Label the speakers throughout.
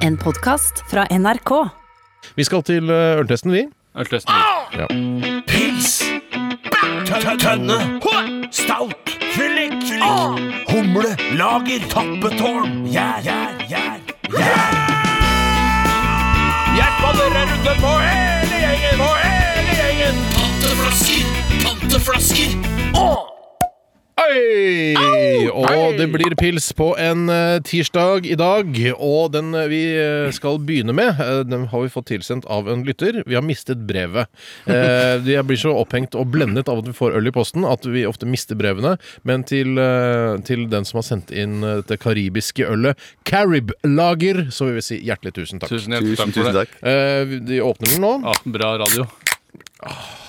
Speaker 1: En podkast fra NRK.
Speaker 2: Vi skal til eh, øltesten, vi.
Speaker 3: Øltesten litt.
Speaker 4: Pils. Tønne. Stout. Fyllik. Humle. Lager. Tappetårn. Gjær. Gjær. Gjær. Hjertballer er rundt på hele gjengen. På hele gjengen. Panteflasker. Panteflasker.
Speaker 2: Oi! Og det blir pils på en eh, tirsdag i dag. Og den eh, vi eh, skal begynne med, eh, den har vi fått tilsendt av en lytter. Vi har mistet brevet. Eh, Jeg blir så opphengt og blendet av at vi får øl i posten at vi ofte mister brevene. Men til, eh, til den som har sendt inn eh, det karibiske ølet Carib Lager, så vil vi si hjertelig tusen takk.
Speaker 3: Tusen hjertelig
Speaker 5: Tusen,
Speaker 3: takk for
Speaker 5: tusen
Speaker 3: det.
Speaker 5: takk.
Speaker 2: Eh, vi- De åpner den nå.
Speaker 3: Ja, bra radio.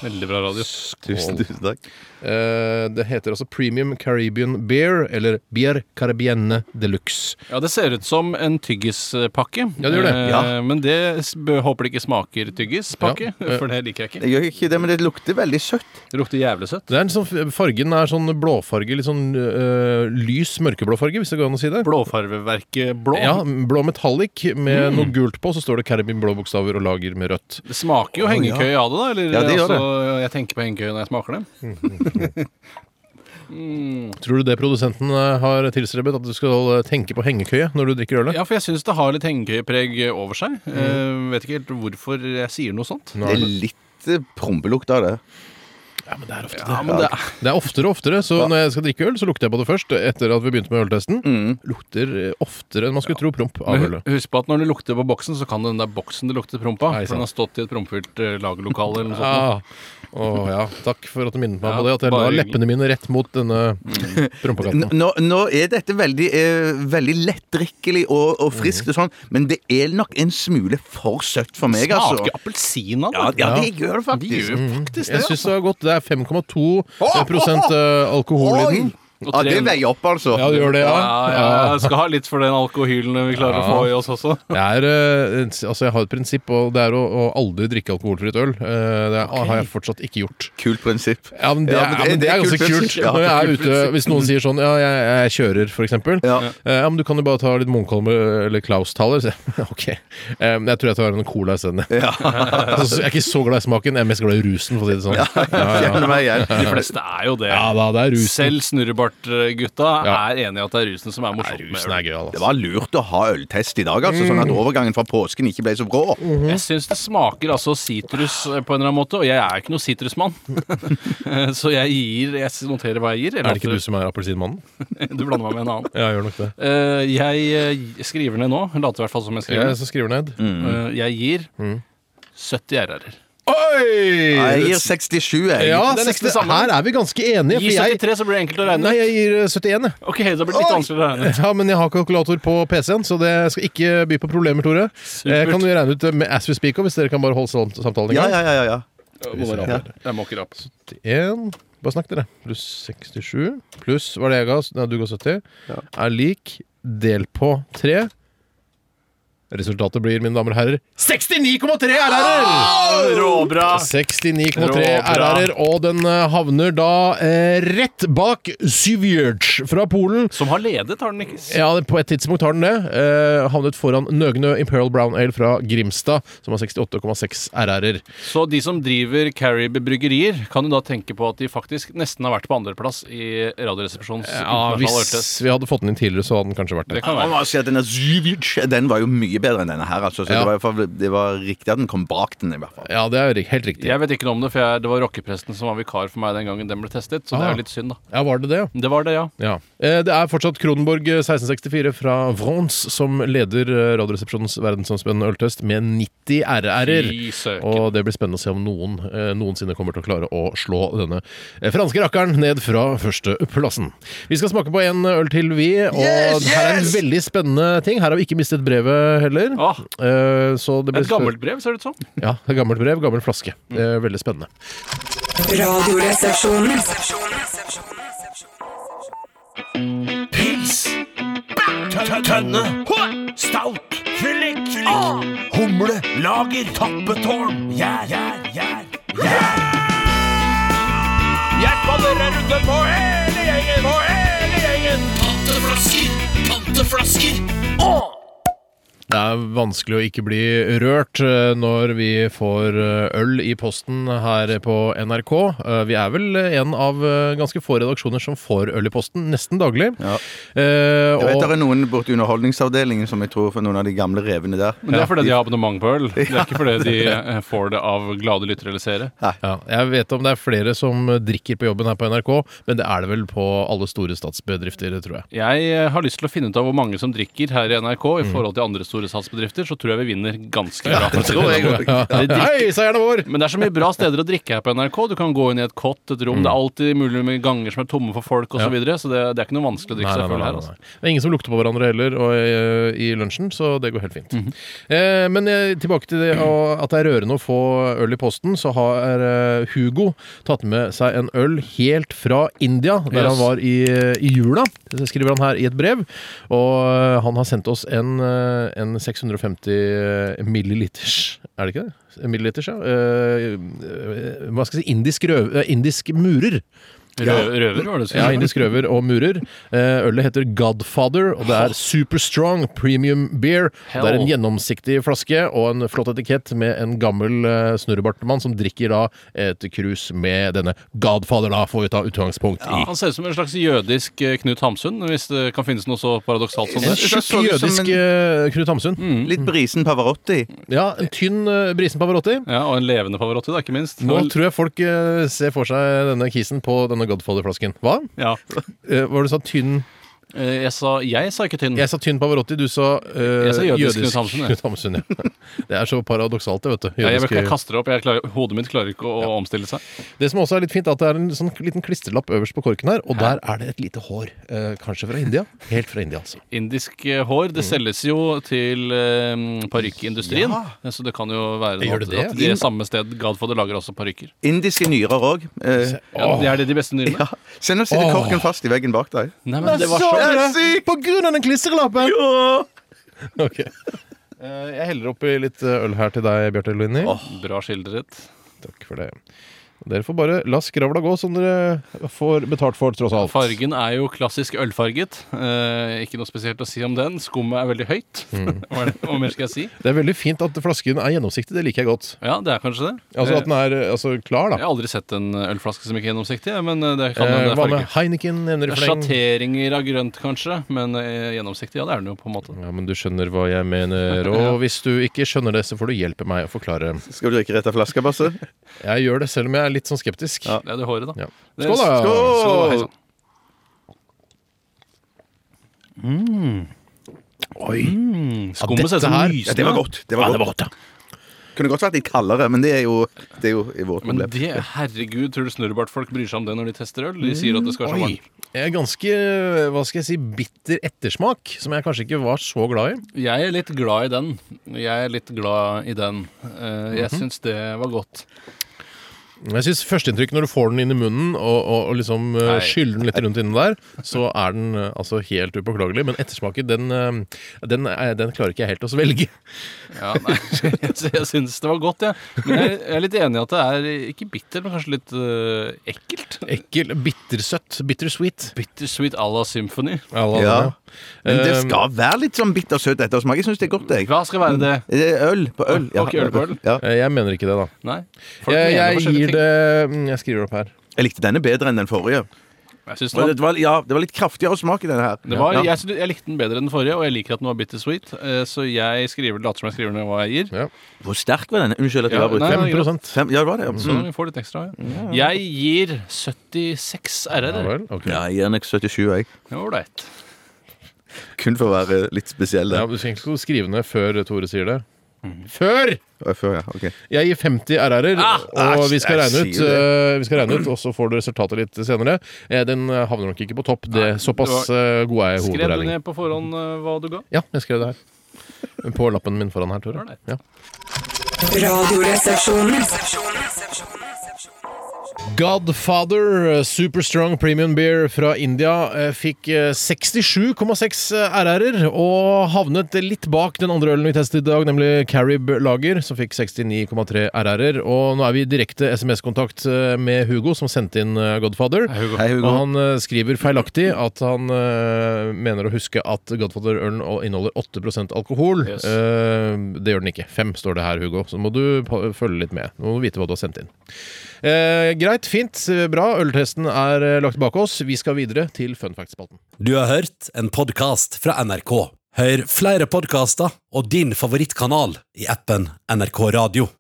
Speaker 3: Veldig bra radio.
Speaker 5: Tusen, tusen takk.
Speaker 2: Eh, Det heter altså Premium Caribbean Beer, eller Bier Caribienne Deluxe.
Speaker 3: Ja, Det ser ut som en tyggispakke.
Speaker 2: Ja, det gjør det.
Speaker 3: Eh,
Speaker 5: Ja.
Speaker 3: Men det s- bø- håper det ikke smaker tyggispakke,
Speaker 2: eh,
Speaker 3: for det liker jeg ikke.
Speaker 5: Jeg gjør ikke det, men det lukter veldig søtt.
Speaker 3: Det lukter jævlig søtt.
Speaker 2: Det er en sånn, fargen er sånn blåfarge, litt sånn øh, lys mørkeblå farge, hvis det går an å si det.
Speaker 3: Blåfarveverket blå.
Speaker 2: Ja, blå metallic
Speaker 3: Mm.
Speaker 2: med noe gult på, så står det Caribbean blå bokstaver og lager med rødt.
Speaker 3: Det smaker jo hengekøye av det, da. Eller,
Speaker 5: Ja, det gjør
Speaker 3: altså, Jeg tenker på hengekøye når jeg smaker det.
Speaker 2: Tror du det produsenten øh, har tilstrebet, at du skal øh, tenke på hengekøye når du drikker ølet?
Speaker 3: Ja, for jeg syns det har litt hengekøyepreg over seg.
Speaker 2: Mm.
Speaker 3: Eh, vet ikke helt hvorfor jeg sier noe sånt.
Speaker 5: Det er litt eh, prompelukt av det.
Speaker 2: men det er ofte
Speaker 3: Ja, men det er
Speaker 2: Det er oftere og oftere, så når jeg skal drikke øl, så lukter jeg på det først, etter at vi begynte med øltesten. Lukter øh, oftere enn man skulle tro promp av
Speaker 3: Mm. Men
Speaker 2: ølet.
Speaker 3: hu- husk på at når du lukter på boksen, så kan den der boksen det lukter promp av.
Speaker 2: Nei,
Speaker 3: For
Speaker 2: sant.
Speaker 3: den har stått i et prompfylt eh, lagerlokale eller noe sånt.
Speaker 2: Ah. Å, ja, takk for at du minnet meg
Speaker 3: Ja,
Speaker 2: på det. At jeg la
Speaker 3: bare hyggelig.
Speaker 2: leppene mine rett mot denne prompekatten.
Speaker 5: N- Nå, nå er dette veldig, eh, veldig lettdrikkelig og, og friskt og sånn, men det er nok en smule for søtt for meg, altså.
Speaker 3: Smaker appelsin av det?
Speaker 5: Ja, ja, det gjør det
Speaker 3: De
Speaker 5: faktisk.
Speaker 3: gjør
Speaker 5: Mm.
Speaker 3: jo faktisk det.
Speaker 2: Jeg
Speaker 3: da.
Speaker 2: syns det var godt. Det er 5,2 prosent, eh, alkohol i den.
Speaker 3: Og
Speaker 5: Ja, det
Speaker 3: tre-
Speaker 5: veier opp, altså.
Speaker 2: Ja, det gjør det,
Speaker 3: ja,
Speaker 2: ja.
Speaker 3: ja, jeg skal ha litt for den alkohylen vi klarer å få i oss også.
Speaker 2: Det er, eh, altså jeg har et prinsipp, og det er å, å aldri drikke alkoholfritt øl. Eh, Det er, har jeg fortsatt ikke gjort.
Speaker 5: Kult prinsipp.
Speaker 2: Ja, men Det,
Speaker 5: Ja, men
Speaker 2: er- ja, men det er ganske kult.
Speaker 5: prinsipp. Ja,
Speaker 2: Når jeg er
Speaker 5: kult
Speaker 2: ute, Hvis noen sier sånn Ja, jeg, jeg kjører, for eksempel.
Speaker 5: Ja.
Speaker 2: Eh, Ja, men du kan jo bare ta litt Munkholm eh, eller Klaus-taler. Så jeg, OK. Eh, men Jeg tror jeg tar en cola isteden.
Speaker 5: Ja.
Speaker 2: Altså, jeg er ikke så glad i smaken, jeg er mest glad i rusen, for å si det sånn. Ja, ja.
Speaker 5: Kjenner meg
Speaker 3: De
Speaker 5: igjen.
Speaker 3: fleste er jo det.
Speaker 2: ja da, det er rusen.
Speaker 3: Selv snurrebart-gutta
Speaker 2: Ja.
Speaker 3: er enig i at det er rusen som er
Speaker 2: Nei,
Speaker 3: morsomt.
Speaker 2: rusen
Speaker 3: med øl.
Speaker 2: er gøyal,
Speaker 5: Det
Speaker 2: altså.
Speaker 5: var lurt å ha øltest i dag, altså,
Speaker 2: Mm.
Speaker 5: sånn at overgangen fra påsken ikke ble så brå.
Speaker 2: Mhm.
Speaker 3: Jeg syns det smaker altså sitrus eh, på en eller annen måte, og jeg er ikke noe sitrusmann. Så jeg gir Jeg noterer hva jeg gir.
Speaker 2: Er det ikke du som er appelsinmannen?
Speaker 3: du blander meg med en annen.
Speaker 2: Ja, jeg gjør nok det.
Speaker 3: Eh, jeg eh, skriver ned nå. Later i hvert fall som jeg
Speaker 2: Jeg
Speaker 3: skriver.
Speaker 2: er som skriver ned.
Speaker 3: Eh, jeg gir
Speaker 2: Mm.
Speaker 3: 70 RR-er.
Speaker 2: Oi!
Speaker 5: Jeg gir 67, jeg.
Speaker 2: ja,
Speaker 3: det er nesten det
Speaker 2: 60
Speaker 3: samme.
Speaker 2: Her er vi ganske enige.
Speaker 3: Gi
Speaker 2: For jeg,
Speaker 3: 73, så blir det enkelt å regne.
Speaker 2: nei, jeg gir eh, 71, jeg.
Speaker 3: Ok, det blir det litt vanskeligere å regne.
Speaker 2: Ja, men jeg har kalkulator på PC-en, så det skal ikke by på problemer, Tore. Eh, kan du regne ut eh, med as we speak, hvis dere kan bare holde sam- samtalen i
Speaker 5: Ja,
Speaker 2: gang?
Speaker 5: ja, ja. ja, ja.
Speaker 3: Må være rapp. Jeg må ikke rapp.
Speaker 2: 71 Bare snakk, dere. Pluss 67 pluss hva er det jeg ga? Nei, du ga 70. Er lik del på 3. Resultatet blir, mine damer og herrer, 69,3 RR-er!
Speaker 3: Råbra!
Speaker 2: Ah. 69,3
Speaker 3: Råbra.
Speaker 2: RR-er, og den eh, havner da eh, rett bak Syvjerts fra Polen.
Speaker 3: Som har ledet, har den ikke? s-
Speaker 2: Ja, det- på et tidspunkt har den det. Eh, havnet foran Nøgne Imperial Brown Ale fra Grimstad, som har 68,6 RR-er.
Speaker 3: Så de som driver Carib bryggerier, kan jo da tenke på at de faktisk nesten har vært på andreplass i Radioresepsjonens
Speaker 2: Ja,
Speaker 3: internasjonale ørtest.
Speaker 2: hvis vi hadde fått den inn tidligere, så hadde den kanskje vært
Speaker 3: Det
Speaker 2: det.
Speaker 3: kan
Speaker 5: Jeg
Speaker 3: være.
Speaker 5: må si at denne Zyvic, Den var jo mye bedre enn denne her, altså. Så
Speaker 2: Ja.
Speaker 5: det, var, i hvert fall- det var riktig at den kom bak den, i hvert fall.
Speaker 2: Ja, det er ri- helt riktig.
Speaker 3: Jeg vet ikke noe om det, for jeg, det var rockepresten som var vikar for meg den gangen den ble testet, så det er
Speaker 2: Ah.
Speaker 3: jo litt synd, da.
Speaker 2: Ja, var det det?
Speaker 3: Men Det var det, ja.
Speaker 2: Ja. Eh, Det er fortsatt Kronenborg eh, 1664 fra Vrons som leder eh, Radioresepsjonens verdensomspennende øltest med 90 RR-er.
Speaker 3: Fy søken.
Speaker 2: Og det blir spennende å se om noen eh, noensinne kommer til å klare å slå denne eh, franske rakkeren ned fra førsteplassen. Vi skal smake på en øl til, vi. Og her er en veldig spennende ting. Her har vi ikke mistet brevet heller.
Speaker 3: Ah,
Speaker 2: Eh, så det blir
Speaker 3: et gammelt Mm. brev, ser det ut som.
Speaker 2: Ja, et gammelt brev, gammel flaske. Det er veldig spennende.
Speaker 1: Radioresepsjonen.
Speaker 4: Pils. Tønne. Stout. Fyllik. Humle. Lager. Tappetårn. Gjær. Gjær. Gjær. Hjertballer er rundt på hele gjengen. På hele gjengen. Panteflasker. Panteflasker.
Speaker 2: Det er vanskelig å ikke bli rørt eh, når vi får eh, øl i posten her på NRK. Eh, Vi er vel en av eh, ganske få redaksjoner som får øl i posten nesten daglig.
Speaker 5: Ja.
Speaker 2: Eh,
Speaker 5: Jeg vet
Speaker 2: og-
Speaker 5: det er noen borte i Underholdningsavdelingen som jeg tror for noen av de gamle revene der.
Speaker 3: Men det er fordi de har abonnement på øl. Det er ikke fordi de eh, får det av glade lyttere eller seere.
Speaker 2: Ja, jeg vet om det er flere som drikker på jobben her på NRK, men det er det vel på alle store statsbedrifter, tror jeg.
Speaker 3: Jeg eh, har lyst til å finne ut av hvor mange som drikker her i NRK i
Speaker 2: Mm.
Speaker 3: forhold til andre store satsbedrifter, så tror jeg vi vinner ganske bra. for å si det
Speaker 5: tror jeg
Speaker 3: sånn.
Speaker 5: også.
Speaker 3: Det drikker-
Speaker 2: Hei, seierne vår!
Speaker 3: Men det er så mye bra steder å drikke her på NRK. Du kan gå inn i et kott, et
Speaker 2: Mm.
Speaker 3: rom. Det er alltid mulig med ganger som er tomme for folk osv., så, videre, så det, det er ikke noe vanskelig å drikke
Speaker 2: Nei, nei,
Speaker 3: seg
Speaker 2: nei,
Speaker 3: full
Speaker 2: nei,
Speaker 3: her.
Speaker 2: nei.
Speaker 3: Altså.
Speaker 2: Det er ingen som lukter på hverandre heller og, eh, i lunsjen, så det går helt fint. eh, men eh, tilbake til det og at det er rørende å få øl i posten, så har eh, Hugo tatt med seg en øl helt fra India, der
Speaker 3: Yes.
Speaker 2: han var i, eh, i jula. Det skriver han her i et brev. Og eh, han har sendt oss en, eh, en 650 eh, milliliters Er det ikke det? Milliliters, ja. Eh, eh, hva skal jeg si? Indisk, røv, eh, indisk murer.
Speaker 3: Rø røver, var det du sa?
Speaker 2: Ja, indisk røver og murer. Eh, Ølet heter Godfather, og det er superstrong premium beer.
Speaker 3: Hell.
Speaker 2: Det er en gjennomsiktig flaske og en flott etikett med en gammel eh, snurrebartmann som drikker da et krus med denne Godfather, da, får vi ta utgangspunkt i.
Speaker 3: Han ser ut som en slags jødisk eh, Knut Hamsun, hvis det kan finnes noe så paradoksalt som
Speaker 2: En
Speaker 3: det.
Speaker 5: Jeg synes
Speaker 2: tjukk
Speaker 5: det så ut som
Speaker 2: jødisk
Speaker 5: Mm.
Speaker 2: eh, Knut Hamsun.
Speaker 5: Litt brisen Pavarotti.
Speaker 2: Ja, en tynn eh, brisen Pavarotti.
Speaker 3: Ja, Og en levende Pavarotti, da, ikke minst.
Speaker 2: Nå
Speaker 3: Og-
Speaker 2: tror jeg folk eh, ser for seg denne kisen på denne Godfather-flasken. Hva?
Speaker 3: ja.
Speaker 2: Eh, Hva var det du sa? Tynn
Speaker 3: Eh, jeg, sa, jeg sa ikke tynn.
Speaker 2: Jeg sa tynn Pavarotti, du sa, eh,
Speaker 3: Jeg sa jødisk Knut Hamsun, jeg.
Speaker 2: Knut Hamsun. Ja. Det er så paradoksalt, det, vet du.
Speaker 3: Ja, jeg,
Speaker 2: Jødisk-
Speaker 3: jeg kaster det opp. Jeg klarer, hodet mitt klarer ikke å omstille seg.
Speaker 2: Det som også er litt fint, er at det er en sånn liten klistrelapp øverst på korken her, og der er det et lite hår. eh, kanskje fra India. Helt fra India, altså.
Speaker 3: Indisk eh, hår
Speaker 2: Mm.
Speaker 3: det selges jo til eh, parykkindustrien, Eh, så det kan jo være
Speaker 2: Gjør
Speaker 3: noe
Speaker 2: det
Speaker 3: at,
Speaker 2: det?
Speaker 3: at de samme sted Godfather lager også parykker.
Speaker 5: Indiske nyrer òg. Eh,
Speaker 3: Ja,
Speaker 2: Åh.
Speaker 3: det er det de beste nyrene?
Speaker 5: ja. Se, nå sitter
Speaker 2: Åh.
Speaker 5: korken fast i veggen bak deg.
Speaker 3: Nei, men det var så
Speaker 5: så-
Speaker 2: Dere,
Speaker 5: Det er sykt!
Speaker 2: På grunn av den klistrelappen! Ok. Eh, Jeg heller oppi litt eh, øl her til deg, Bjarte Linni.
Speaker 3: bra skildret.
Speaker 2: Takk for det. Dere får bare la skravla gå, som dere får betalt for, tross alt.
Speaker 3: Fargen er jo klassisk ølfarget. Eh, ikke noe spesielt å si om den. Skummet er veldig høyt.
Speaker 2: Mm.
Speaker 3: Hva, er det, hva mer skal jeg si?
Speaker 2: Det er veldig fint at flasken er gjennomsiktig. Det liker jeg godt.
Speaker 3: Ja, det er kanskje det.
Speaker 2: Altså at
Speaker 3: Eh,
Speaker 2: den er eh, altså, klar,
Speaker 3: jeg
Speaker 2: da.
Speaker 3: har aldri sett en ølflaske som ikke er gjennomsiktig, jeg, men eh, det kan hende
Speaker 2: Eh,
Speaker 3: det er
Speaker 2: Hva med
Speaker 3: farge.
Speaker 2: Heineken? Nevner i fleng.
Speaker 3: Sjatteringer av grønt, kanskje, men eh, gjennomsiktig, ja, det er den jo på en måte.
Speaker 2: Ja, men du skjønner hva jeg mener. Og hvis du ikke skjønner det, så får du hjelpe meg å forklare.
Speaker 5: Skal du drikke rett av flaska, Basse?
Speaker 2: Jeg gjør det selv om jeg er litt sånn skeptisk.
Speaker 5: Ja.
Speaker 3: Det er det håret, da.
Speaker 2: Ja.
Speaker 3: Det-
Speaker 2: Skål, da!
Speaker 5: Skål!
Speaker 3: Skål, hei sann.
Speaker 5: Mm.
Speaker 2: Oi!
Speaker 3: Mm, Skummet ser ut som
Speaker 2: dette her-
Speaker 5: Ja, det var
Speaker 3: lysende.
Speaker 5: godt. Det var godt. Kunne godt vært litt kaldere, men det er jo, det er jo i vårt
Speaker 3: Men
Speaker 5: problem.
Speaker 3: det, herregud, tror du snurrebartfolk bryr seg om det når de tester
Speaker 5: Mm,
Speaker 3: øl? De sier at det skal være så
Speaker 2: Oi.
Speaker 3: varmt.
Speaker 2: Jeg er ganske hva skal jeg si, bitter ettersmak, som jeg kanskje ikke var så glad i.
Speaker 3: Jeg er litt glad i den. Jeg er litt glad i den. Eh, Jeg
Speaker 5: Mhm.
Speaker 3: syns det var godt.
Speaker 2: Jeg synes Førsteinntrykk når du får den inn i munnen og, og, og liksom eh,
Speaker 3: Nei.
Speaker 2: skyller den litt rundt inni der, så er den eh, altså helt upåklagelig. Men ettersmaken, den, eh, den, er- den klarer ikke jeg helt å svelge.
Speaker 3: Ja, nei, jeg, sy- jeg syns det var godt, jeg. Men jeg, jeg er litt enig i at det er ikke bitter, men kanskje litt eh, ekkelt.
Speaker 2: Ekkel, bittersøtt, bittersweet.
Speaker 3: Bittersweet à la Symphony.
Speaker 2: Ja, la-
Speaker 5: Ja.
Speaker 2: la-
Speaker 5: Men det
Speaker 2: Eh,
Speaker 5: skal være litt sånn bittersøt ettersmak. Jeg syns det er godt, jeg.
Speaker 3: Hva skal være det?
Speaker 5: Det er Øl på øl.
Speaker 3: Ok, øl på øl.
Speaker 5: Ja.
Speaker 2: Eh, Jeg mener ikke det, da.
Speaker 3: Nei. folk
Speaker 2: Jeg,
Speaker 3: mener
Speaker 2: jeg
Speaker 3: forskjellige
Speaker 2: gir
Speaker 3: ting.
Speaker 2: det mm, Jeg skriver det opp her.
Speaker 5: Jeg likte denne bedre enn den forrige.
Speaker 3: Jeg, syns
Speaker 5: Og
Speaker 3: den
Speaker 5: Det
Speaker 3: var,
Speaker 5: var, ja, det var litt kraftigere smak i denne her.
Speaker 3: det var,
Speaker 5: ja.
Speaker 3: jeg, syns- jeg likte den bedre enn den forrige, og jeg liker at den var bittersweet, eh, så jeg skriver, later som jeg skriver ned hva jeg gir.
Speaker 2: Ja.
Speaker 5: Hvor sterk var denne? Unnskyld at jeg
Speaker 3: Ja,
Speaker 5: har brukt
Speaker 3: nei, Mm.
Speaker 5: fem.
Speaker 3: nei.
Speaker 2: 5
Speaker 5: fem. Ja, Sånn. det var det.
Speaker 3: Så
Speaker 5: Ja.
Speaker 3: vi får litt ekstra. Ja. Jeg gir 76
Speaker 2: Mm. Ja
Speaker 3: RR.
Speaker 2: vel. ok.
Speaker 5: Ja, jeg gir den 77, jeg.
Speaker 3: Det var Ålreit.
Speaker 5: Kun for å være litt spesiell.
Speaker 2: Ja,
Speaker 5: Ja.
Speaker 2: men du skal egentlig ikke skrive ned før Tore sier det. Før!
Speaker 5: Før, ja. ok.
Speaker 2: Jeg gir 50 RR-er,
Speaker 3: Ah,
Speaker 2: og
Speaker 5: æsj,
Speaker 2: vi skal,
Speaker 5: jeg
Speaker 2: regne ut,
Speaker 5: sier det.
Speaker 2: eh, vi skal regne ut, og så får du resultatet litt senere. Eh, Den eh, havner nok ikke på topp. Det, såpass
Speaker 3: det
Speaker 2: eh, god er jeg i
Speaker 3: Skrev du
Speaker 2: hovedregning.
Speaker 3: ned på forhånd eh, hva du ga?
Speaker 2: Ja, jeg skrev det her. På lappen min foran her, Tore.
Speaker 3: Alright.
Speaker 2: Ja.
Speaker 1: Radioresepsjonen.
Speaker 2: Godfather, eh, super strong premium beer fra India, eh, fikk eh, 67,6 RR-er eh, og havnet litt bak den andre ølen vi testet i dag, nemlig Carib Lager, som fikk 69,3 RR-er. Og nå er vi i direkte SMS-kontakt eh, med Hugo, som sendte inn eh, Godfather.
Speaker 5: Hei,
Speaker 2: Og
Speaker 5: Hugo.
Speaker 2: han eh, skriver feilaktig at han eh, mener å huske at Godfather-ølen o- inneholder 8 alkohol.
Speaker 3: Yes.
Speaker 2: Eh, det gjør den ikke. 5 står det her, Hugo. Så må du pa- følge litt med. Nå må du vite hva du har sendt inn. Eh, greit, fint, eh, bra. Øltesten er eh, lagt bak oss. Vi skal videre til fun fact-spalten.
Speaker 6: Du har hørt en podcast fra NRK. Hør flere podcaster og din favorittkanal i appen NRK Radio.